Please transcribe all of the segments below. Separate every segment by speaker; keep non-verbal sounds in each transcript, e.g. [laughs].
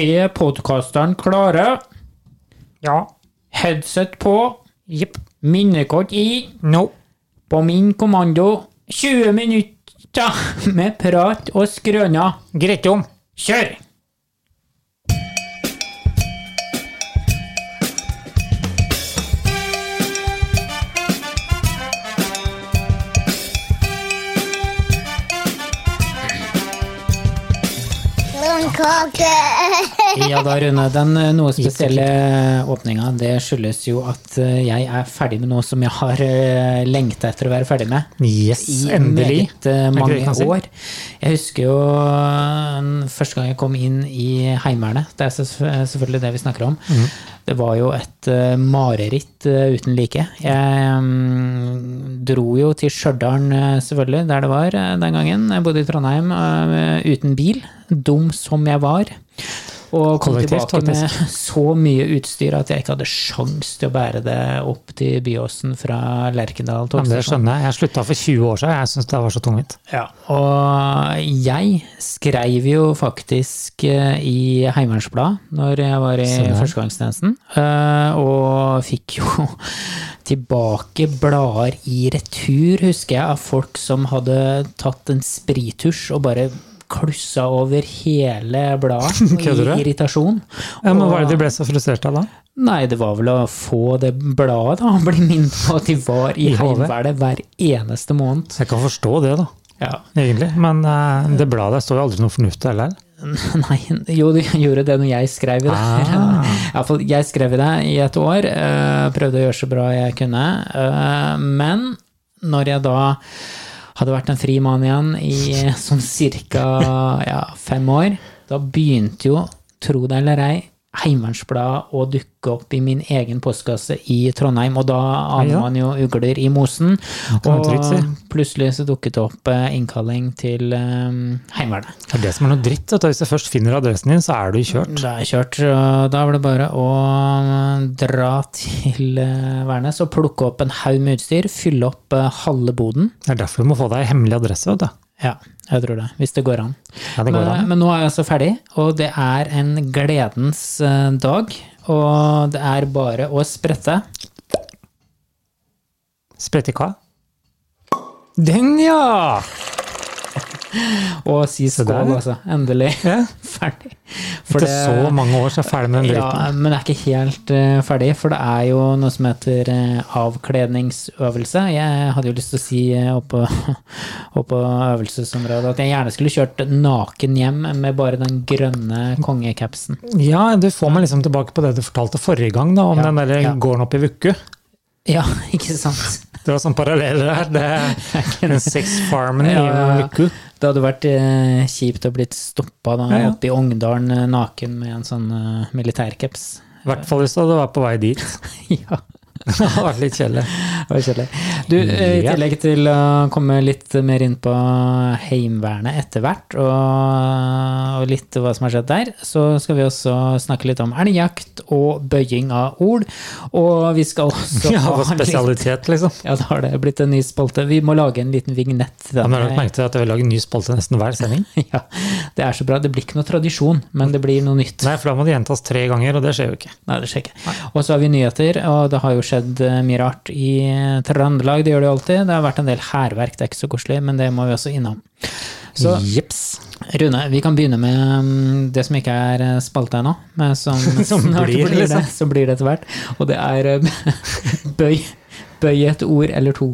Speaker 1: Er podkasteren klare?
Speaker 2: Ja.
Speaker 1: Headset på.
Speaker 2: Jepp.
Speaker 1: Minnekort i.
Speaker 2: No.
Speaker 1: På min kommando 20 minutter med prat og skrøner.
Speaker 2: Greit om.
Speaker 1: Kjør!
Speaker 3: Blomkake.
Speaker 1: [laughs] Ja da, Rune. Den eh, noe spesielle åpninga, det skyldes jo at eh, jeg er ferdig med noe som jeg har eh, lengta etter å være ferdig med.
Speaker 2: Yes,
Speaker 1: i
Speaker 2: endelig.
Speaker 1: meget eh, mange
Speaker 2: det jeg kan si?
Speaker 1: år. Jeg husker jo eh, første gang jeg kom inn i Heimevernet. Det er selvf- eh, selvfølgelig det vi snakker om.
Speaker 2: Mhm.
Speaker 1: Det var jo et eh, mareritt eh, uten like. Jeg mm, dro jo til Stjørdal, eh, selvfølgelig, der det var eh, den gangen. Jeg bodde i Trondheim eh, uten bil. Dum som jeg var. Og kom
Speaker 2: Kollektivt,
Speaker 1: tilbake med [laughs] så mye utstyr at jeg ikke hadde sjans til å bære det opp til Byåsen fra Lerkendal
Speaker 2: Ja, men det
Speaker 1: togstasjon.
Speaker 2: skjønner jeg. Jeg slutta for 20 år siden. Jeg syns det var så tungvint.
Speaker 1: Ja, og jeg skrev jo faktisk eh, i Heimevernsbladet når jeg var i
Speaker 2: Se der.
Speaker 1: førstegangstjenesten, eh, og fikk jo [laughs] tilbake blader i retur, husker jeg, av folk som hadde tatt en sprittusj og bare klussa over hele bladet
Speaker 2: [laughs] Kødder
Speaker 1: i
Speaker 2: du?
Speaker 1: irritasjon.
Speaker 2: Ja, men
Speaker 1: Og-
Speaker 2: Hva er det de ble så frustrert av da?
Speaker 1: Nei, det var vel å få det bladet, da. [laughs] Bli minnet på at de var i
Speaker 2: I hodet.
Speaker 1: Heimevernet hver eneste måned.
Speaker 2: Jeg kan forstå det, da.
Speaker 1: Ja,
Speaker 2: Egentlig. Men eh, det bladet der står jo aldri noe fornuftig heller.
Speaker 1: [laughs] Nei, jo, de gjorde det når jeg skrev i det. [laughs]
Speaker 2: Ah.
Speaker 1: I hvert fall, jeg skrev i det i et år, eh, prøvde å gjøre så bra jeg kunne. eh, men når jeg da hadde vært en fri mann igjen i [laughs] sånn cirka ja, fem år, da begynte jo, tro det eller ei, Heimevernsbladet å dukke opp i min egen postkasse i Trondheim, og da aner
Speaker 2: Ja.
Speaker 1: man jo ugler i mosen.
Speaker 2: kan man trygt si.
Speaker 1: Og plutselig så dukket det opp eh, innkalling til eh, Heimevernet.
Speaker 2: Det er det som er noe dritt. Vet du. Hvis jeg først finner adressen din, så er du kjørt.
Speaker 1: Da er jeg kjørt. og Da var det bare å eh, dra til eh, Værnes og plukke opp en haug med utstyr, fylle opp eh, halve boden.
Speaker 2: Det er derfor du må få deg hemmelig adresse, vet du.
Speaker 1: Ja, jeg tror det. Hvis det går an.
Speaker 2: Ja, det går
Speaker 1: men,
Speaker 2: an.
Speaker 1: men nå er jeg altså ferdig, og det er en gledens eh, dag. Og det er bare å sprette.
Speaker 2: Sprette hva? Den, ja!
Speaker 1: Og si
Speaker 2: der,
Speaker 1: skål,
Speaker 2: ja.
Speaker 1: altså. Endelig
Speaker 2: ja.
Speaker 1: [laughs] ferdig.
Speaker 2: Etter så mange år så er jeg ferdig med den
Speaker 1: Ja,
Speaker 2: dritten.
Speaker 1: men det er ikke helt eh, ferdig, for det er jo noe som heter eh, avkledningsøvelse. Jeg hadde jo lyst til å si eh, oppå, [laughs] oppå øvelsesområdet at jeg gjerne skulle kjørt naken hjem med bare den grønne kongecapsen.
Speaker 2: Ja, du får meg liksom tilbake på det du fortalte forrige gang, da, om
Speaker 1: Ja,
Speaker 2: den der
Speaker 1: ja.
Speaker 2: gården opp i Vuku.
Speaker 1: Ja, [laughs] ikke sant?
Speaker 2: Det var sånn paralleller der. [laughs] Det er den sexfarmen i
Speaker 1: Ja, ja, ja.
Speaker 2: Vuku.
Speaker 1: Det hadde vært eh, kjipt å blitt stoppa da,
Speaker 2: Ja, ja.
Speaker 1: oppe i Ongdalen eh, naken med en sånn eh, militærcaps.
Speaker 2: I hvert fall hvis du hadde vært på vei
Speaker 1: [laughs]
Speaker 2: dit. [laughs]
Speaker 1: ja.
Speaker 2: Det hadde vært litt kjedelig.
Speaker 1: Det var kjedelig. Du, eh, I
Speaker 2: Ja.
Speaker 1: tillegg til å komme litt mer inn på Heimevernet etter hvert, og, og litt hva som har skjedd der, så skal vi også snakke litt om elgjakt og bøying av ord. Og vi skal også
Speaker 2: [laughs] Ja,
Speaker 1: ha [laughs]
Speaker 2: og
Speaker 1: litt
Speaker 2: spesialitet, liksom.
Speaker 1: ja, da har det blitt en ny spalte. Vi må lage en liten vignett til
Speaker 2: Ja,
Speaker 1: den.
Speaker 2: men har du lagt merke til at jeg vil lage en ny spalte nesten hver sending?
Speaker 1: [laughs] Ja, det er så bra. Det blir ikke noe tradisjon, men det blir noe nytt.
Speaker 2: Nei, for da må det gjentas tre ganger, og det skjer jo ikke.
Speaker 1: Nei, det skjer ikke. Og så har vi nyheter, og det har jo skjedd eh, mye rart i eh, Trøndelag. Det gjør det jo alltid. Det har vært en del hærverk, det er ikke så koselig, men det må vi også innom. Så
Speaker 2: Jeps.
Speaker 1: Rune, vi kan begynne med mm, det som ikke er eh, spalte ennå, men som,
Speaker 2: [laughs] Som
Speaker 1: snart
Speaker 2: blir, liksom.
Speaker 1: det, som blir det etter hvert. Og det er eh, [laughs] bøy, bøy et ord eller to.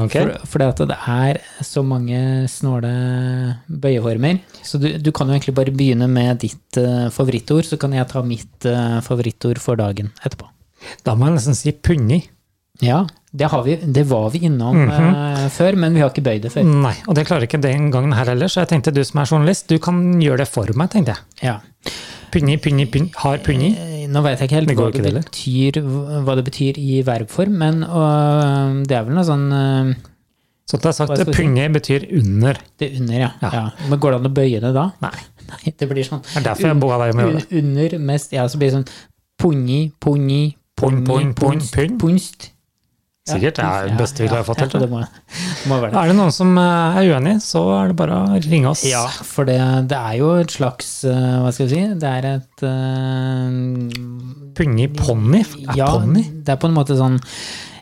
Speaker 2: Ok.
Speaker 1: For, fordi at det er så mange snåle bøyeformer. Så du, du kan jo egentlig bare begynne med ditt eh, favorittord, så kan jeg ta mitt eh, favorittord for dagen etterpå.
Speaker 2: Da må jeg nesten si punni.
Speaker 1: Ja, det, har vi, det var vi innom eh, før, men vi har ikke bøyd det før.
Speaker 2: Nei, og det klarer ikke den gangen her heller, så jeg tenkte du som er journalist, du kan gjøre det for meg, tenkte jeg.
Speaker 1: Ja.
Speaker 2: Punni, punni, punni. Har punni.
Speaker 1: Eh, Nå vet jeg ikke helt
Speaker 2: Det
Speaker 1: hva
Speaker 2: går
Speaker 1: det,
Speaker 2: ikke det
Speaker 1: betyr, hva det betyr i verbform, men øh, det er vel noe sånn øh,
Speaker 2: Så det er
Speaker 1: Hva
Speaker 2: sagt
Speaker 1: skal
Speaker 2: at
Speaker 1: vi si?
Speaker 2: punni betyr under.
Speaker 1: Det er under, ja. ja.
Speaker 2: Ja.
Speaker 1: Men går det an å bøye det da?
Speaker 2: Nei.
Speaker 1: Nei, det blir sånn
Speaker 2: Det er derfor jeg ba deg om å gjøre det.
Speaker 1: un- under mest Ja, så blir det sånn pungi, pungi,
Speaker 2: Pung, pung, pung,
Speaker 1: punst,
Speaker 2: pung.
Speaker 1: punst.
Speaker 2: Sikkert. Det er det beste vi har fått til.
Speaker 1: Ja, det må, må være det.
Speaker 2: Er det noen som eh, er uenig, så er det bare å ringe [laughs] oss.
Speaker 1: Ja, for det, det er jo et slags eh, Hva skal vi si? Det er et eh,
Speaker 2: Pungi ponni? Er
Speaker 1: Ja,
Speaker 2: ponni?
Speaker 1: det er på en måte sånn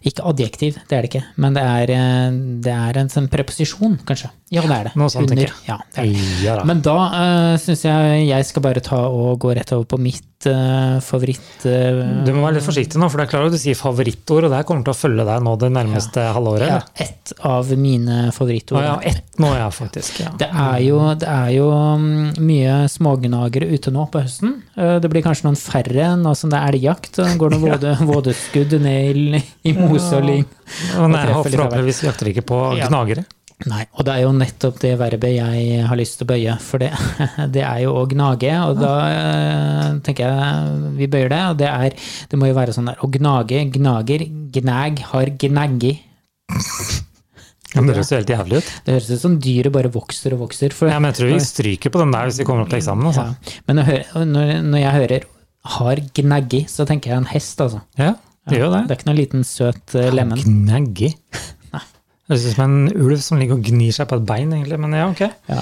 Speaker 1: Ikke adjektiv, det er det ikke, men det er, eh, det er en sånn preposisjon, kanskje. Ja, det er det.
Speaker 2: Noe sånt, tenker jeg.
Speaker 1: Ja, det er det.
Speaker 2: Ja da.
Speaker 1: Men da uh, syns jeg jeg skal bare ta og gå rett over på mitt eh, favoritt... eh,
Speaker 2: Du må være litt forsiktig nå, for det er klart at du sier favorittord, og det her kommer til å følge deg nå det nærmeste halvåret.
Speaker 1: ja,
Speaker 2: eller?
Speaker 1: et av mine favorittord.
Speaker 2: Å ja, ett nå, ja, faktisk. Ja.
Speaker 1: Det er jo, det er jo mm, mye smågnagere ute nå på høsten. Eh, Det blir kanskje noen færre nå som det er elgjakt. og Går det
Speaker 2: [laughs]
Speaker 1: våde, vådeskudd ned i, i mose og lyng.
Speaker 2: Men jeg
Speaker 1: treffer litt
Speaker 2: håper
Speaker 1: av hvert.
Speaker 2: forhåpentligvis jakter ikke på
Speaker 1: Ja.
Speaker 2: gnagere.
Speaker 1: Nei, og det er jo nettopp det verbet jeg har lyst til å bøye, for det, [laughs] det er jo å gnage. Og da eh, tenker jeg vi bøyer det, og det er Det må jo være sånn der å gnage, gnager, gnag, har gnaggi.
Speaker 2: Det høres jo helt jævlig ut.
Speaker 1: Det høres ut som dyret bare vokser og vokser. For
Speaker 2: Ja, men jeg tror vi stryker på den der hvis vi kommer opp til eksamen. Altså.
Speaker 1: Ja. Men når, jeg hører- når, når jeg hører 'har gnaggi', så tenker jeg en hest, altså.
Speaker 2: Ja, det gjør
Speaker 1: Det
Speaker 2: det.
Speaker 1: er ikke noen liten søt eh, lemen.
Speaker 2: Gnaggi.
Speaker 1: [laughs]
Speaker 2: Det høres ut som en ulv som ligger og gnir seg på et bein, egentlig. Men ja, ok.
Speaker 1: Ja.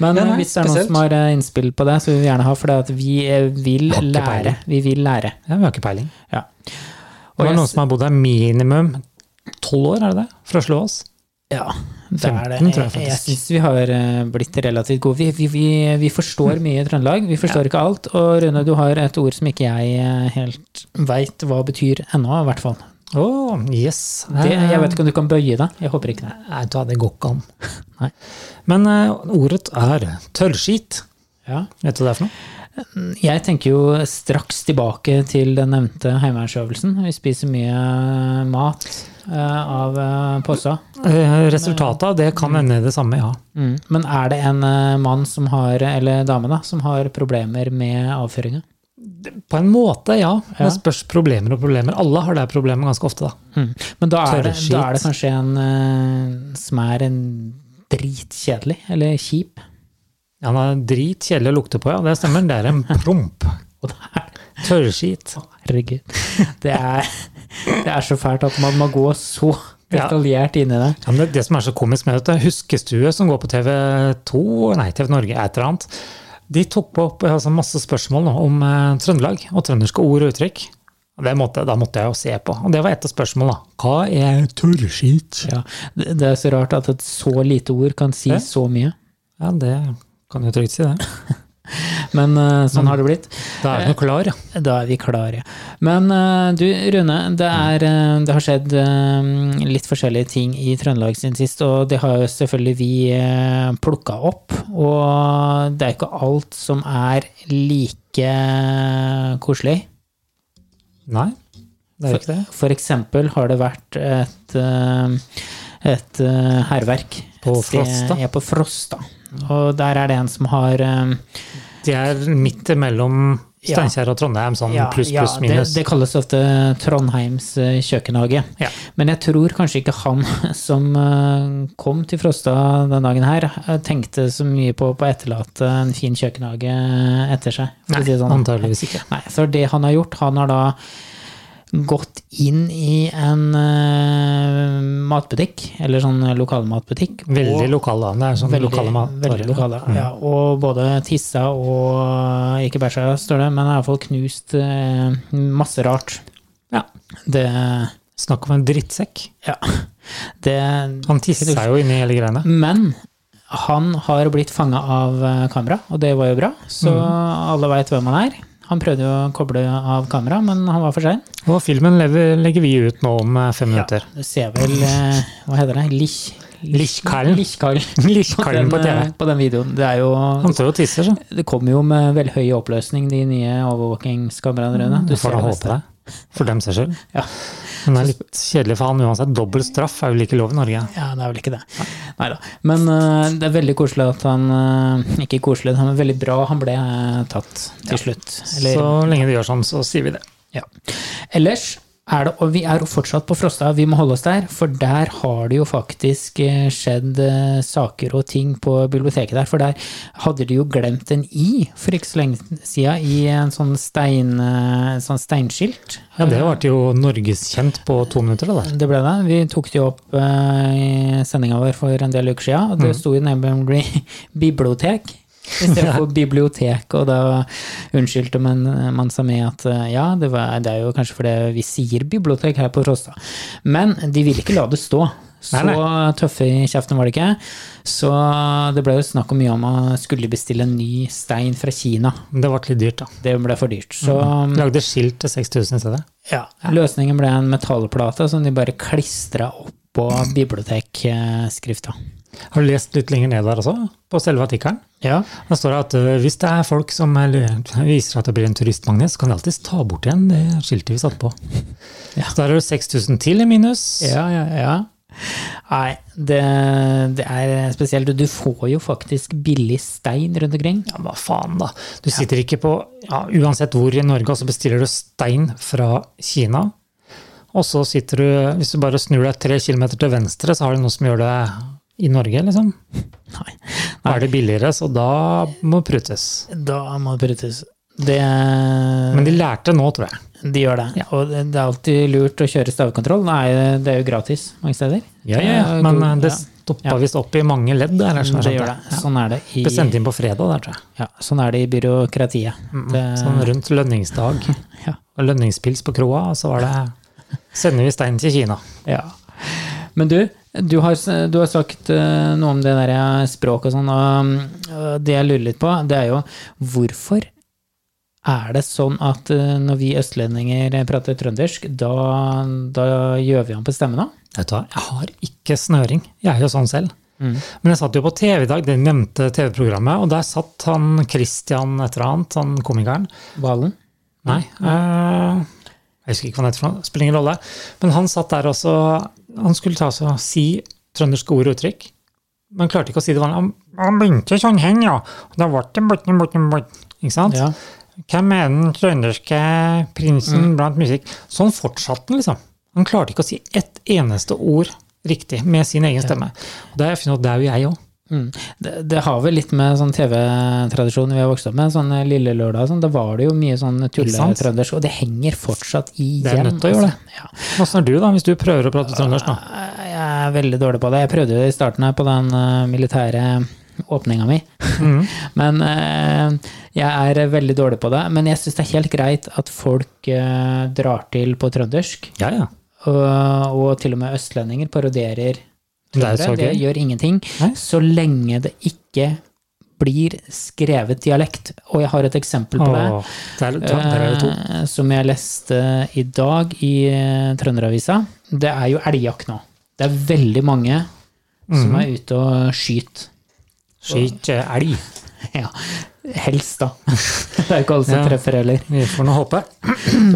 Speaker 1: Men
Speaker 2: Ja, nei,
Speaker 1: hvis det er noen
Speaker 2: spesielt.
Speaker 1: som har eh, innspill på det, så vil vi gjerne ha, for det at vi eh, vil
Speaker 2: Har ikke
Speaker 1: lære.
Speaker 2: peiling.
Speaker 1: Vi vil lære.
Speaker 2: Ja, vi har ikke peiling.
Speaker 1: Ja.
Speaker 2: Og det
Speaker 1: jeg
Speaker 2: er noen
Speaker 1: s-
Speaker 2: som har bodd her minimum tolv år, er det det? Fra Slåås?
Speaker 1: Ja, det er det.
Speaker 2: 15 tror
Speaker 1: Jeg,
Speaker 2: jeg faktisk.
Speaker 1: jeg syns vi har eh, blitt relativt gode. Vi, vi, vi, vi forstår mye i Trøndelag, vi forstår ikke alt. Og Rune, du har et ord som ikke jeg eh, helt veit hva betyr ennå, i hvert fall.
Speaker 2: Å, yes.
Speaker 1: Det, jeg vet ikke om du kan bøye deg. Jeg håper ikke det.
Speaker 2: Nei, vet du hva, det går ikke an. [laughs]
Speaker 1: Nei.
Speaker 2: Men eh, ordet er tørrskit.
Speaker 1: Ja.
Speaker 2: Vet du hva det er for noe?
Speaker 1: Jeg tenker jo straks tilbake til den nevnte heimevernsøvelsen. Vi spiser mye mat eh, av eh, posa.
Speaker 2: Eh, Resultatet av det kan ende i det samme, ja.
Speaker 1: Mm. Men er det en eh, mann som har, eller dame da, som har problemer med avføringa?
Speaker 2: På en måte, ja.
Speaker 1: Ja.
Speaker 2: Det spørs problemer og problemer. Alle har det problemet ganske ofte, da.
Speaker 1: Mm. Men da er, det,
Speaker 2: Tørrskit.
Speaker 1: da er det kanskje en eh, som er en dritkjedelig, eller kjip.
Speaker 2: Han har drit kjedelig å lukte på, ja. Det stemmer. Det er en promp.
Speaker 1: Og det er
Speaker 2: Tørrskit.
Speaker 1: Herregud. [laughs] Det er, det er så fælt at man må gå så
Speaker 2: Ja.
Speaker 1: detaljert inn i det.
Speaker 2: Ja, men det, det som er så komisk med dette, Huskestue som går på TV2, nei, TV Norge, et eller annet, de tok opp altså, masse spørsmål nå, om eh, Trøndelag og trønderske ord og uttrykk. Og Det måtte, da måtte jeg jo se på. Og det var et av spørsmålene. Hva er tørrskit?
Speaker 1: Ja. Det det er så rart at et så lite ord kan si
Speaker 2: Ja.
Speaker 1: så mye.
Speaker 2: Ja, det kan jeg trygt si, det.
Speaker 1: Men eh, sånn har det blitt.
Speaker 2: Da er den jo klar, ja.
Speaker 1: Da er vi klare. Men eh, du, Rune, det, er, eh, det har skjedd eh, litt forskjellige ting i Trøndelag siden sist, og det har jo selvfølgelig vi uh, plukka opp. Og det er ikke alt som er like eh, koselig.
Speaker 2: Nei, det er jo ikke det.
Speaker 1: For eksempel har det vært et, eh, et eh, hærverk
Speaker 2: På
Speaker 1: et sted-
Speaker 2: Frosta?
Speaker 1: Ja, på Frosta. Og der er det en som har eh,
Speaker 2: De er midt imellom
Speaker 1: Ja.
Speaker 2: Steinkjer og Trondheim, sånn pluss, pluss, minus.
Speaker 1: Det, det kalles ofte Trondheims eh, kjøkkenhage.
Speaker 2: Ja.
Speaker 1: Men jeg tror kanskje ikke han [laughs] som eh, kom til Frosta den dagen her, eh, tenkte så mye på på å etterlate en fin kjøkkenhage eh, etter seg. for å
Speaker 2: Nei,
Speaker 1: si det sånn.
Speaker 2: antageligvis ikke.
Speaker 1: Nei, så det han har gjort, han har da gått inn i en eh, matbutikk, eller sånn lokalmatbutikk.
Speaker 2: Veldig
Speaker 1: og-
Speaker 2: lokal, da. Det er sånn
Speaker 1: Veldig,
Speaker 2: lokale mat- Mm.
Speaker 1: veldig lokale, ja. Og både tissa og ikke bæsja, står det, men i hvert fall knust eh, masse rart.
Speaker 2: Ja.
Speaker 1: Det
Speaker 2: Snakk om en drittsekk.
Speaker 1: Ja. Det
Speaker 2: Han tisser Sånn jo inni hele greiene.
Speaker 1: Men han har blitt fanga av eh, kamera, og det var jo bra, så
Speaker 2: Mm.
Speaker 1: alle veit hvem han er. Han prøvde jo å koble av kamera, men han var for sein.
Speaker 2: Og filmen lever, legger vi ut nå om eh, fem
Speaker 1: [laughs]
Speaker 2: minutter.
Speaker 1: Du ser vel eh, Hva heter det? Lich...
Speaker 2: Lichkallen.
Speaker 1: Lichkall.
Speaker 2: Lichkallen på
Speaker 1: På, den,
Speaker 2: TV.
Speaker 1: eh, på den videoen. Det er jo
Speaker 2: Han står og tisser, så.
Speaker 1: Det kommer jo med veldig høy oppløsning, de nye overvåkingskameraene. Rune.
Speaker 2: Du Mm. får da
Speaker 1: det
Speaker 2: håpe
Speaker 1: meste.
Speaker 2: det. For dem seg selv.
Speaker 1: Ja.
Speaker 2: Men det er litt kjedelig for han uansett. Dobbel straff er vel ikke lov i Norge.
Speaker 1: ja, det er vel ikke det. Nei da. Men eh, det er veldig koselig at han eh, Ikke koselig, men veldig bra han ble eh, tatt til slutt. Eller,
Speaker 2: Så lenge de gjør sånn, så sier vi det.
Speaker 1: ja. Ellers er det, og vi er jo fortsatt på Frosta, vi må holde oss der, for der har det jo faktisk eh, skjedd eh, saker og ting på biblioteket der. For der hadde de jo glemt en i for ikke så lenge siden i en sånn, stein, eh, sånn steinskilt.
Speaker 2: Ja, det ble jo norgeskjent på to minutter, det der.
Speaker 1: Det ble det. Vi tok det jo opp eh, i sendinga vår for en del uker siden. og
Speaker 2: Mm.
Speaker 1: Det sto jo nemlig [laughs] bibliotek
Speaker 2: [laughs]
Speaker 1: istedenfor bibliotek. Og da unnskyldte man, man seg med at eh, ja, det, var, det er jo kanskje fordi vi sier bibliotek her på Frosta. Men de ville ikke la det stå. Så
Speaker 2: Nei, nei.
Speaker 1: tøffe i kjeften var det ikke. Så det ble jo snakk om mye om å skulle bestille en ny stein fra Kina.
Speaker 2: Men det ble litt dyrt, da.
Speaker 1: Det ble for dyrt. Så
Speaker 2: Lagde skilt til 6000 i stedet.
Speaker 1: ja. Løsningen ble en metallplate som de bare klistra opp på bibliotekskrifta.
Speaker 2: Har du lest litt lenger ned der også, på selve artikkelen?
Speaker 1: Ja.
Speaker 2: Da står det at ø, hvis det er folk som er, viser at det blir en turistmagnet, så kan de alltids ta bort igjen det skiltet vi satte på. Så der er det 6000 til i minus.
Speaker 1: ja, ja, ja. Nei, det, det er spesielt. Du får jo faktisk billig stein rundt omkring.
Speaker 2: Ja, hva faen da? Du sitter ikke på, ja, uansett hvor i Norge, og så bestiller du stein fra Kina. Og så sitter du, hvis du bare snur deg tre kilometer til venstre, så har du noe som gjør det i Norge, liksom.
Speaker 1: Nei,
Speaker 2: Da er det billigere, så da må det prutes.
Speaker 1: da må det brutes. Det, Eh.
Speaker 2: Men de lærte nå, tror jeg.
Speaker 1: de gjør det. Og det det er alltid lurt å kjøre stavkontroll. Nei, det er jo gratis mange steder.
Speaker 2: Ja, ja, ja.
Speaker 1: Eh,
Speaker 2: Men
Speaker 1: Google-
Speaker 2: eh, det
Speaker 1: ja,
Speaker 2: stoppa visst opp i mange ledd. Der, som
Speaker 1: det
Speaker 2: jeg
Speaker 1: gjør
Speaker 2: skjønte.
Speaker 1: det. Sånn er det i,
Speaker 2: Ble sendt inn på fredag, der, tror jeg.
Speaker 1: ja, sånn er det i byråkratiet. Det,
Speaker 2: Sånn rundt lønningsdag.
Speaker 1: Eh. [laughs] Ja.
Speaker 2: Og lønningspils på kroa, og så var det Sender vi stein til Kina?
Speaker 1: Ja. Men du, du har, s- du har sagt eh, noe om det der språk og sånn, og mm, det jeg lurer litt på, det er jo hvorfor er det sånn at eh, når vi østlendinger prater trøndersk, da, da gjør vi om på stemmen da?
Speaker 2: Vet du hva, jeg har ikke snøring. Jeg er jo sånn selv.
Speaker 1: Mm.
Speaker 2: Men jeg satt jo på TV i dag, det nevnte TV-programmet, og der satt han Christian et eller annet, han komikeren.
Speaker 1: Valen?
Speaker 2: Nei, eh, jeg husker ikke hva han heter, for noe, spiller ingen rolle. Men han satt der også, han skulle ta seg og si trønderske ord og uttrykk, men klarte ikke å si det vanlig. Han, han begynte sånn hen, ja. Og da ble det bort, bort, bort. Ikke sant?
Speaker 1: Ja.
Speaker 2: Hvem er den trønderske prinsen
Speaker 1: Mm.
Speaker 2: blant musikk? Sånn fortsatte han, liksom. Han klarte ikke å si ett eneste ord riktig med sin egen stemme. Og det har jeg funnet ut, det er jo jeg òg.
Speaker 1: Mm. Det, det har vel litt med sånn TV-tradisjonen vi har vokst opp med, sånn eh, Lille Lørdag og sånn, da var det jo mye sånn
Speaker 2: sant?
Speaker 1: tulletrøndersk, og det henger fortsatt igjen.
Speaker 2: Det er nødt til å gjøre det.
Speaker 1: Ja.
Speaker 2: Åssen er du, da, hvis du prøver å prate trøndersk nå?
Speaker 1: Jeg er veldig dårlig på det. Jeg prøvde det i starten her på den eh, militære åpninga mi.
Speaker 2: Mm.
Speaker 1: men eh, jeg er veldig dårlig på det. Men jeg syns det er helt greit at folk eh, drar til på trøndersk.
Speaker 2: Ja, ja.
Speaker 1: Og, og til og med østlendinger parodierer
Speaker 2: Det er jo
Speaker 1: trøndere.
Speaker 2: så
Speaker 1: Det
Speaker 2: gøy.
Speaker 1: gjør ingenting.
Speaker 2: Nei.
Speaker 1: Så lenge det ikke blir skrevet dialekt. Og jeg har et eksempel på det.
Speaker 2: Åh, der, der, der er det to.
Speaker 1: eh, Som jeg leste i dag i eh, Trønderavisa. Det er jo elgjakt nå. Det er veldig mange som
Speaker 2: Mhm.
Speaker 1: er ute og skyter. [laughs]
Speaker 2: Skyt eh, elg.
Speaker 1: Ja, helst, da. [laughs] Det er jo ikke alle som
Speaker 2: Ja.
Speaker 1: treffer
Speaker 2: [clears throat]
Speaker 1: heller.
Speaker 2: Vi får nå håpe.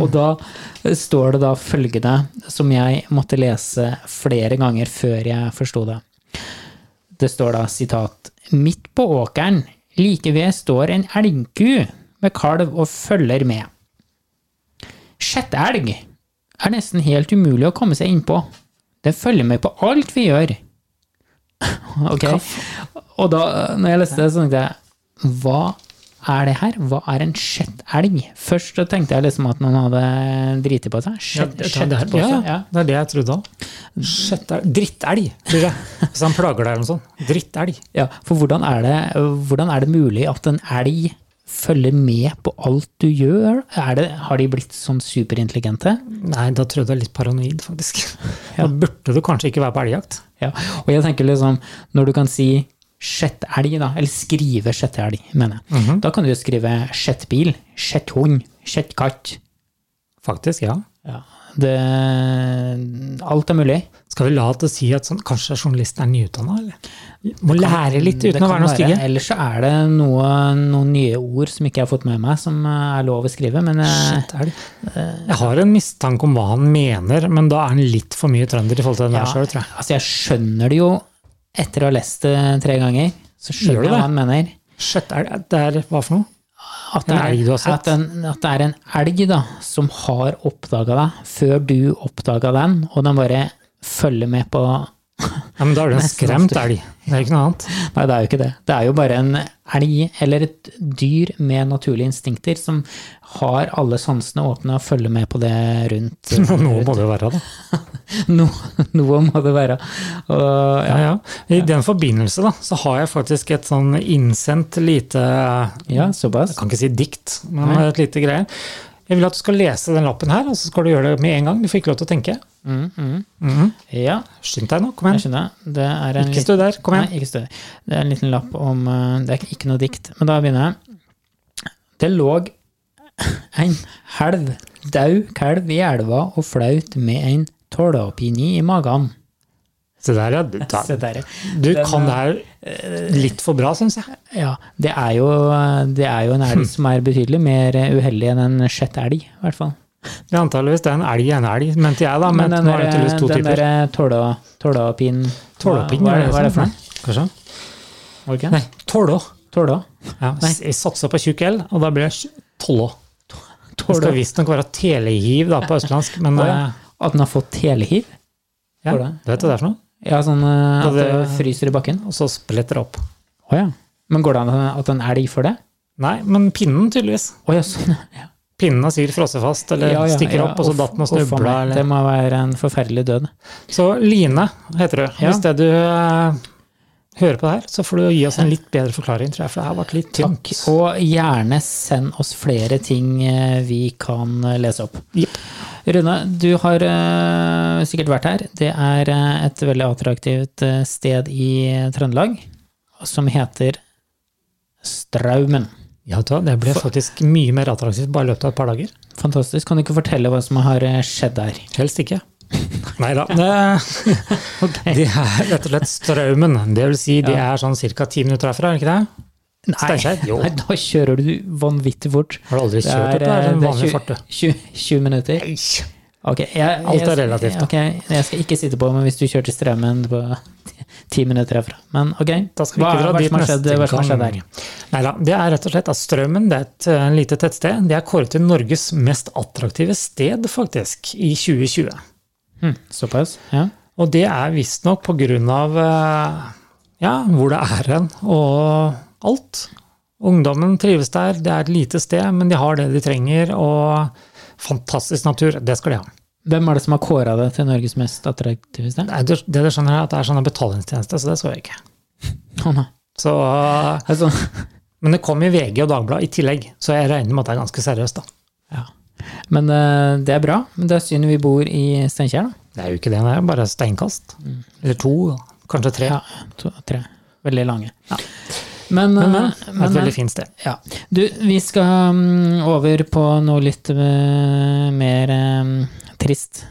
Speaker 1: Og da eh, står det da følgende, som jeg måtte lese flere ganger før jeg forsto det. Det står da sitat Midt på åkeren, like ved står en elgku med kalv og følger med. Sjette elg er nesten helt umulig å komme seg innpå. Den følger med på alt vi gjør. [laughs] Ok. Og da, når jeg leste det, så tenkte jeg Hva er det her? Hva er en skjettelg? Først så tenkte jeg liksom at noen hadde driti på seg.
Speaker 2: Ja,
Speaker 1: Skjett,
Speaker 2: det, det,
Speaker 1: skjett
Speaker 2: er-
Speaker 1: på
Speaker 2: ja,
Speaker 1: seg. Ja.
Speaker 2: det er det jeg trodde òg. Drittelg, tror jeg. Hvis han plager deg eller noe sånt. Drittelg.
Speaker 1: Ja, for hvordan er, det, hvordan er det mulig at en elg følger med på alt du gjør? Er det, har de blitt sånn superintelligente?
Speaker 2: Nei, da trodde jeg litt paranoid, faktisk. Da burde du kanskje ikke være på elgjakt.
Speaker 1: Ja. Og jeg tenker liksom, når du kan si skjettelg, da, eller skrive skjettelg, mener jeg,
Speaker 2: Mhm.
Speaker 1: da kan du jo skrive skjettbil, skjetthund, skjettkatt.
Speaker 2: Faktisk, ja.
Speaker 1: Ja. Det, alt er mulig.
Speaker 2: Skal vi la det si at sånn, kanskje journalisten er nyutdanna, eller? Må lære litt
Speaker 1: Det
Speaker 2: uten å
Speaker 1: kan
Speaker 2: være noe stygge.
Speaker 1: Ellers så er det noe, noen nye ord som ikke jeg har fått med meg, som eh, er lov å skrive, men eh,
Speaker 2: Shit, elg. Jeg har en mistanke om hva han mener, men da er han litt for mye trønder i forhold til den
Speaker 1: ja,
Speaker 2: der sjøl, tror jeg.
Speaker 1: altså jeg skjønner det jo etter å ha lest det tre ganger. Så
Speaker 2: Gjør
Speaker 1: skjønner
Speaker 2: du
Speaker 1: jeg hva
Speaker 2: det?
Speaker 1: han mener.
Speaker 2: Shit, elg, det er hva for noe?
Speaker 1: At det,
Speaker 2: En elg du har
Speaker 1: er,
Speaker 2: sett?
Speaker 1: at, den, at det er en elg da, som har oppdaga deg før du oppdaga den, og den bare følger med på
Speaker 2: Ja, men da er det en
Speaker 1: Nesten
Speaker 2: skremt
Speaker 1: ofte.
Speaker 2: elg. Det er ikke noe [laughs] annet.
Speaker 1: Nei, det er jo ikke det. Det er jo bare en elg eller et dyr med naturlige instinkter som har alle sansene åpne og følger med på det rundt.
Speaker 2: [laughs] Noe må det jo være, da.
Speaker 1: Noe, noe må det være. Og, ja.
Speaker 2: Ja, ja. I den forbindelse da, så har jeg faktisk et sånn innsendt lite eh,
Speaker 1: ja, såpass.
Speaker 2: Jeg kan ikke si dikt, men et lite greie. Jeg vil at du skal lese den lappen her, og så skal du gjøre det med en gang. Du fikk lov til å tenke.
Speaker 1: Mm, mm.
Speaker 2: Mhm.
Speaker 1: Ja,
Speaker 2: Skynd deg nå, kom
Speaker 1: jeg
Speaker 2: igjen.
Speaker 1: skjønner. Det er en
Speaker 2: Ikke
Speaker 1: liten,
Speaker 2: stå der, kom
Speaker 1: nei,
Speaker 2: igjen.
Speaker 1: ikke stø. Det er en liten lapp om eh, Det er ikke- ikke noe dikt, men da begynner jeg. Det lå en helv, dau kalv i elva og flaut med en tålepine i magen.
Speaker 2: Se der, ja. Du, da,
Speaker 1: Se der, ja.
Speaker 2: du
Speaker 1: Den, eh,
Speaker 2: kan det her litt for bra, syns jeg.
Speaker 1: Ja, det er jo, det er jo en elg som er betydelig mer uheldig enn en sjette elg, i hvert fall.
Speaker 2: Det er antageligvis det er en elg i en elg, mente jeg da. Men,
Speaker 1: den
Speaker 2: nå er det tydeligvis to
Speaker 1: den
Speaker 2: typer.
Speaker 1: derre tåla- tålapin
Speaker 2: Tålopinn,
Speaker 1: hva, hva, er det- hva er det for
Speaker 2: sånn.
Speaker 1: noe?
Speaker 2: Kanskje?
Speaker 1: Var det ikke
Speaker 2: Nei,
Speaker 1: det?
Speaker 2: tålå.
Speaker 1: Tåla?
Speaker 2: Ja, s- jeg satser på tjukk L, og da blir det sj- tålå. Det skal
Speaker 1: Tåla.
Speaker 2: visstnok være telehiv da, på østlandsk, men
Speaker 1: Å,
Speaker 2: eh,
Speaker 1: At den har fått telehiv?
Speaker 2: ja,
Speaker 1: Tålå.
Speaker 2: du vet hva det er for noe?
Speaker 1: Ja, sånn eh,
Speaker 2: Ja,
Speaker 1: at
Speaker 2: det-
Speaker 1: det fryser i bakken?
Speaker 2: Og så spretter det opp.
Speaker 1: Å ja. Men går det an at en elg får det?
Speaker 2: Nei, men pinnen tydeligvis.
Speaker 1: Å ja, sånn. [laughs] Ja,
Speaker 2: Pinnen har sikkert frosset fast, eller
Speaker 1: ja, ja,
Speaker 2: stikker
Speaker 1: ja.
Speaker 2: opp, og så
Speaker 1: Uff,
Speaker 2: datt den og
Speaker 1: uff, faen
Speaker 2: snubla.
Speaker 1: meg.
Speaker 2: eller-
Speaker 1: Det må være en forferdelig død.
Speaker 2: Så Line heter du.
Speaker 1: Ja.
Speaker 2: Hvis det du eh, hører på det her, så får du gi oss en litt bedre forklaring, tror jeg, for det her ble litt
Speaker 1: Takk.
Speaker 2: tynt.
Speaker 1: Og gjerne send oss flere ting eh, vi kan eh, lese opp.
Speaker 2: Jepp.
Speaker 1: Rune, du har eh, sikkert vært her. Det er eh, et veldig attraktivt eh, sted i Trøndelag som heter Straumen.
Speaker 2: Ja, vet du hva, det ble faktisk mye mer attraktivt bare i løpet av et par dager.
Speaker 1: Fantastisk. Kan du ikke fortelle hva som har eh, skjedd der?
Speaker 2: Helst
Speaker 1: [laughs]
Speaker 2: ikke. Nei [laughs] da. Det, det er rett og slett strømmen. Det vil si, det er sånn ca. ti minutter herfra, er det ikke det? Steinkjer? Jo.
Speaker 1: Nei, da kjører du vanvittig fort.
Speaker 2: Har du aldri kjørt opp der?
Speaker 1: eh,
Speaker 2: En
Speaker 1: det er
Speaker 2: vanlig
Speaker 1: tjue-
Speaker 2: fart, du.
Speaker 1: tjue- 20 minutter. Ok, jeg, jeg,
Speaker 2: Alt er relativt, da.
Speaker 1: ok, jeg skal ikke sitte på meg hvis du kjører til strømmen på [laughs] ti- ti minutter herfra. Men ok,
Speaker 2: Da skal vi
Speaker 1: hva,
Speaker 2: ikke dra
Speaker 1: hva
Speaker 2: dit
Speaker 1: som har skjedd,
Speaker 2: neste
Speaker 1: hva som har skjedd
Speaker 2: gang.
Speaker 1: der?
Speaker 2: Neida, det er rett og slett at Strømmen det er et eh, lite tettsted. Det er kåret til Norges mest attraktive sted, faktisk, i 2020.
Speaker 1: Hm, såpass, ja.
Speaker 2: Og det er visstnok på grunn av eh, ja, hvor det er hen, og alt. Ungdommen trives der, det er et lite sted, men de har det de trenger, og fantastisk natur, det skal de ha.
Speaker 1: Hvem er det som har kåra det til Norges mest attraktive sted?
Speaker 2: Nei, det, det du skjønner er at det er sånne betalingstjenester, så det så jeg ikke.
Speaker 1: Å, nei.
Speaker 2: Så, eh,
Speaker 1: Altså,
Speaker 2: men det kom i VG og Dagbladet i tillegg, så jeg regner med at det er ganske seriøst, da.
Speaker 1: [laughs] ja. Men eh, det er bra. Men det er synd vi bor i Steinkjer, da.
Speaker 2: Det er jo ikke det, det er bare steinkast. Eller to, kanskje tre.
Speaker 1: Mm. Ja, to, tre. Veldig lange. Men, eh,
Speaker 2: Men, men, det er
Speaker 1: men,
Speaker 2: et
Speaker 1: men
Speaker 2: veldig fint sted.
Speaker 1: ja. Du, vi skal mm, over på noe litt eh, mer eh, trist.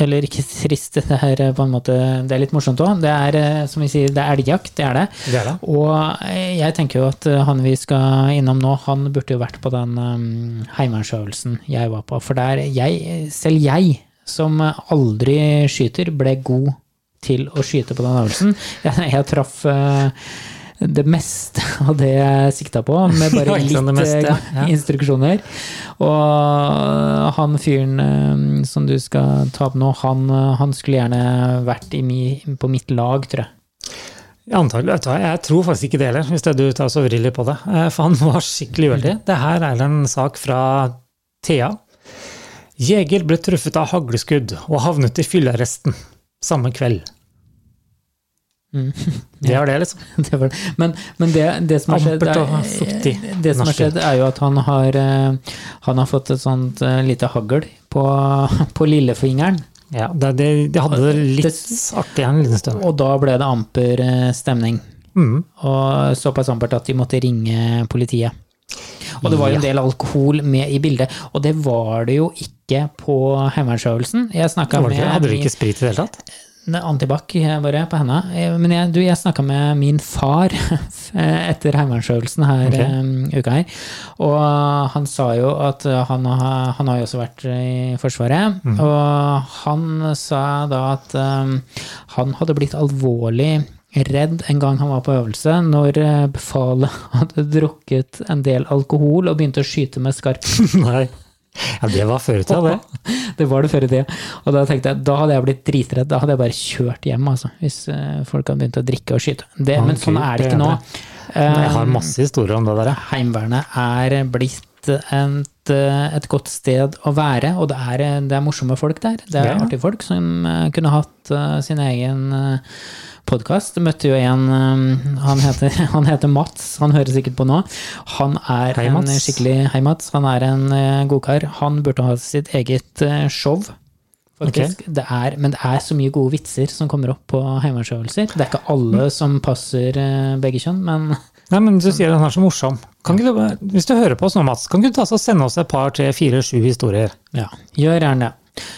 Speaker 1: Eller ikke trist, det er eh, på en måte Det er litt morsomt òg. Det er eh, som vi sier, det er elgjakt, det er det.
Speaker 2: Det er det.
Speaker 1: Og eh, jeg tenker jo at eh, han vi skal innom nå, han burde jo vært på den um, heimevernsøvelsen jeg var på. For der jeg, selv jeg, som aldri skyter, ble god til å skyte på den øvelsen. [laughs] Jeg, jeg traff eh, det meste av det jeg sikta på, med
Speaker 2: [laughs] Ja,
Speaker 1: bare
Speaker 2: ikke
Speaker 1: litt
Speaker 2: sant, det meste,
Speaker 1: eh,
Speaker 2: ja.
Speaker 1: instruksjoner. Og han fyren eh, som du skal ta opp nå, han, eh, han skulle gjerne vært i mi, på mitt lag, tror jeg. [laughs]
Speaker 2: Antagelig, vet du hva, Jeg tror faktisk ikke det heller, hvis det er du tar så vrir litt på det. Eh, For han var skikkelig uheldig. Det her er en sak fra Thea. Jeger ble truffet av hagleskudd og havnet i fyllearresten samme kveld.
Speaker 1: Mm.
Speaker 2: Det var det, liksom.
Speaker 1: det var, men men det, det som har skjedd
Speaker 2: Ampert
Speaker 1: er,
Speaker 2: og fuktig.
Speaker 1: Det som har
Speaker 2: Norsk.
Speaker 1: skjedd er jo at han har, eh, han har fått et sånt eh, lite hagl på, [laughs] på lillefingeren.
Speaker 2: Ja, det, det, de hadde det litt
Speaker 1: Det-
Speaker 2: artig en liten stund.
Speaker 1: Og da ble det amper eh, stemning.
Speaker 2: Mm.
Speaker 1: Og såpass ampert at de måtte ringe politiet. Og det var jo en del alkohol med i bildet, og det var det jo ikke på heimevernsøvelsen. Jeg snakka
Speaker 2: Var det
Speaker 1: med
Speaker 2: ikke, hadde dere
Speaker 1: min-
Speaker 2: ikke sprit i det hele tatt? [laughs]
Speaker 1: Ne, Antibac eh, bare på henne. Eh, Men jeg, du, jeg snakka med min far [laughs] eh, etter heimevernsøvelsen her
Speaker 2: Ok.
Speaker 1: eh, uka her. Og han sa jo at eh, han, har- han har jo også vært i Forsvaret. Og han sa da at eh, han hadde blitt alvorlig redd en gang han var på øvelse, når eh, befalet [laughs] hadde drukket en del alkohol og begynte å skyte med skarpt
Speaker 2: Nei. Ja, det var før i tida, det.
Speaker 1: [laughs] Det var det før i tida. Og da tenkte jeg, da hadde jeg blitt dritredd. Da hadde jeg bare kjørt hjem, altså. Hvis eh, folk hadde begynt å drikke og skyte. Det,
Speaker 2: Ja,
Speaker 1: men sånn
Speaker 2: kult,
Speaker 1: er det
Speaker 2: det
Speaker 1: ikke
Speaker 2: er
Speaker 1: nå.
Speaker 2: Jeg har
Speaker 1: Eh,
Speaker 2: masse historier om det der. ja.
Speaker 1: Heimevernet er blitt et, eh, et godt sted å være, og det er, eh, det er morsomme folk der. Det er
Speaker 2: Ja.
Speaker 1: artige folk som eh, kunne hatt eh, sin egen podkast. Møtte jo en eh, han heter, [laughs] han heter Mats, han hører sikkert på nå. Han er
Speaker 2: Hei,
Speaker 1: en
Speaker 2: Mats.
Speaker 1: skikkelig Hei, Mats. Han er en eh, godkar. Han burde ha sitt eget eh, show. Faktisk. Det er, men det er så mye gode vitser som kommer opp på heimevernsøvelser. Det er ikke alle
Speaker 2: Mm.
Speaker 1: som passer eh, begge kjønn, men [laughs]
Speaker 2: Nei, men du sier den er så morsom. Kan ikke du, bare- hvis du hører på oss nå, Mats, kan ikke du ta oss og sende oss et par, tre, fire, sju historier?
Speaker 1: ja, gjør gjerne det.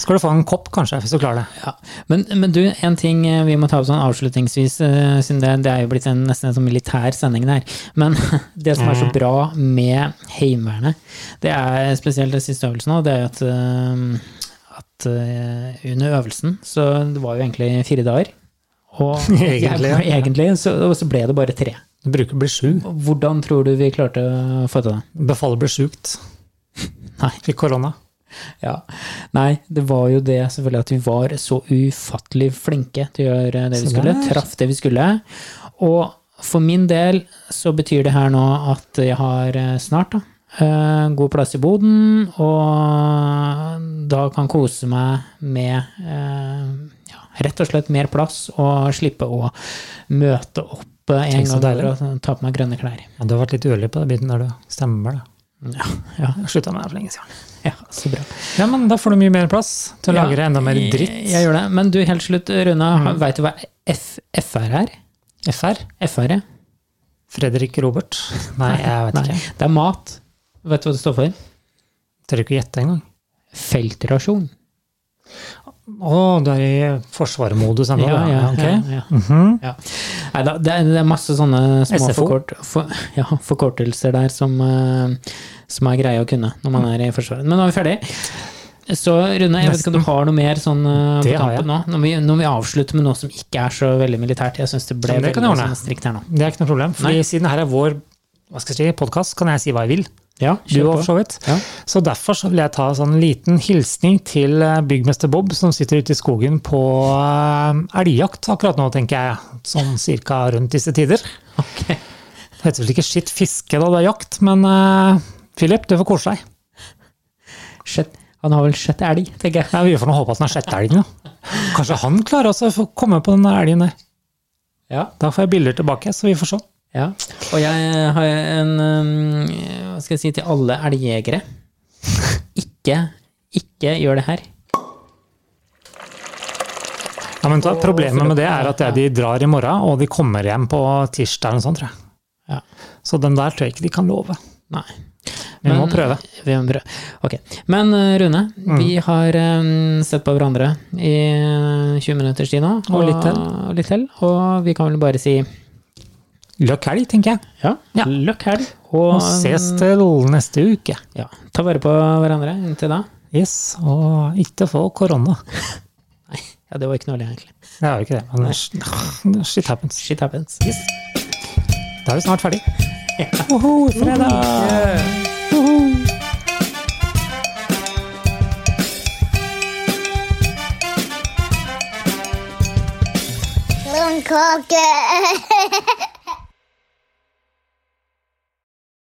Speaker 2: Skal du få en kopp, kanskje, hvis du klarer det?
Speaker 1: Ja. Men, men du, en ting eh, vi må ta opp sånn avslutningsvis, eh, siden det, det er jo blitt en, nesten en sånn militær sending der. Men [laughs] det som er så bra med Heimevernet, det er spesielt den siste øvelsen nå, det er jo at, eh, at eh, under øvelsen, så det var jo egentlig fire dager. [laughs] Og
Speaker 2: Egentlig, ja.
Speaker 1: egentlig så, og så ble det bare tre.
Speaker 2: Du bruker blir sju.
Speaker 1: Hvordan tror du vi klarte å få til det?
Speaker 2: Befalet blir sjukt.
Speaker 1: Nei.
Speaker 2: Fikk korona.
Speaker 1: Ja. Nei, det var jo det selvfølgelig at vi var så ufattelig flinke til å gjøre det vi
Speaker 2: Se
Speaker 1: skulle.
Speaker 2: der.
Speaker 1: Traff det vi skulle. Og for min del så betyr det her nå at jeg har eh, snart da, eh, god plass i boden, og da kan kose meg med eh, ja, rett og slett mer plass, og slippe å møte opp eh, en
Speaker 2: Tenk så
Speaker 1: gang for
Speaker 2: deilig.
Speaker 1: å ta på meg grønne klær.
Speaker 2: Ja, du har vært litt uheldig på den biten der, du. Stemmer det.
Speaker 1: Ja, ja,
Speaker 2: Jeg slutta med det for lenge siden.
Speaker 1: ja så bra.
Speaker 2: Ja, men da får du mye mer plass til å
Speaker 1: Ja,
Speaker 2: lagre enda mer dritt. Mm.
Speaker 1: Jeg, jeg gjør det. Men du, helt slutt, Rune. Vet Veit du hva F FR er?
Speaker 2: FR?
Speaker 1: FR, ja.
Speaker 2: Fredrik Robert? Nei, jeg vet
Speaker 1: Nei,
Speaker 2: ikke.
Speaker 1: det er mat. Vet du hva det står for?
Speaker 2: Tør ikke å gjette engang.
Speaker 1: Feltrasjon.
Speaker 2: Å, du er i forsvarmodus ennå?
Speaker 1: Ja,
Speaker 2: da.
Speaker 1: ja,
Speaker 2: ok. Mm. Mhm.
Speaker 1: ja, ja. Ja. Nei, da, det, er, det er masse sånne små
Speaker 2: SFO.
Speaker 1: forkort, for, ja, forkortelser der som, eh, som er greie å kunne når man
Speaker 2: Mm.
Speaker 1: er i Forsvaret. Men nå er vi ferdig. Så Rune, jeg vet ikke om du har noe mer sånn eh, på
Speaker 2: Det har jeg.
Speaker 1: tampen nå? Når vi, når vi avslutter med noe som ikke er så veldig militært. Jeg syns det ble
Speaker 2: Men det kan
Speaker 1: veldig
Speaker 2: jeg ordne.
Speaker 1: sånn strikt her nå.
Speaker 2: Det er ikke noe problem. Fordi siden her er vår hva skal jeg si, podkast, kan jeg si hva jeg vil.
Speaker 1: Ja,
Speaker 2: Du
Speaker 1: kjør
Speaker 2: og
Speaker 1: på.
Speaker 2: for så vidt.
Speaker 1: Ja.
Speaker 2: Så derfor så vil jeg ta en sånn liten hilsning til eh, byggmester Bob, som sitter ute i skogen på eh, elgjakt akkurat nå, tenker jeg. Sånn cirka rundt disse tider.
Speaker 1: Ok.
Speaker 2: Det heter vel ikke skitt fiske da det er jakt, men eh, Philip, du får kose deg.
Speaker 1: Sjett- Han har vel sjett elg, tenker jeg.
Speaker 2: Ja, vi får nå håpe at den er sjette elgen, da. Kanskje han klarer også å få komme på den der elgen der.
Speaker 1: Ja.
Speaker 2: Da får jeg bilder tilbake, så vi får se.
Speaker 1: Ja, og jeg eh, har en um, Hva skal jeg si til alle [laughs] elgjegere? Ikke, ikke gjør det her.
Speaker 2: Ja, men da, Problemet med det er at de drar i morgen, og de kommer hjem på tirsdag eller noe sånt, tror jeg.
Speaker 1: Ja.
Speaker 2: Så den der tror jeg ikke de kan love.
Speaker 1: Nei.
Speaker 2: Vi må
Speaker 1: Men-
Speaker 2: prøve.
Speaker 1: Vi må prøve. Ok. Men uh, Rune, vi har um, sett på hverandre i 20 minutters tid nå.
Speaker 2: Og litt til.
Speaker 1: Og litt til. Og vi kan vel bare si
Speaker 2: Løkk helg, tenker jeg.
Speaker 1: ja,
Speaker 2: Ja.
Speaker 1: løkk helg.
Speaker 2: Og ses til neste uke.
Speaker 1: ja, ta vare på hverandre inntil da.
Speaker 2: Yes, og ikke få korona.
Speaker 1: Ja, det var ikke noe ille, egentlig.
Speaker 2: Det er jo ikke det, men sh- shit happens.
Speaker 1: Shit happens.
Speaker 2: Da er vi snart ferdig. Woho, fredag!
Speaker 3: Loon Cocker.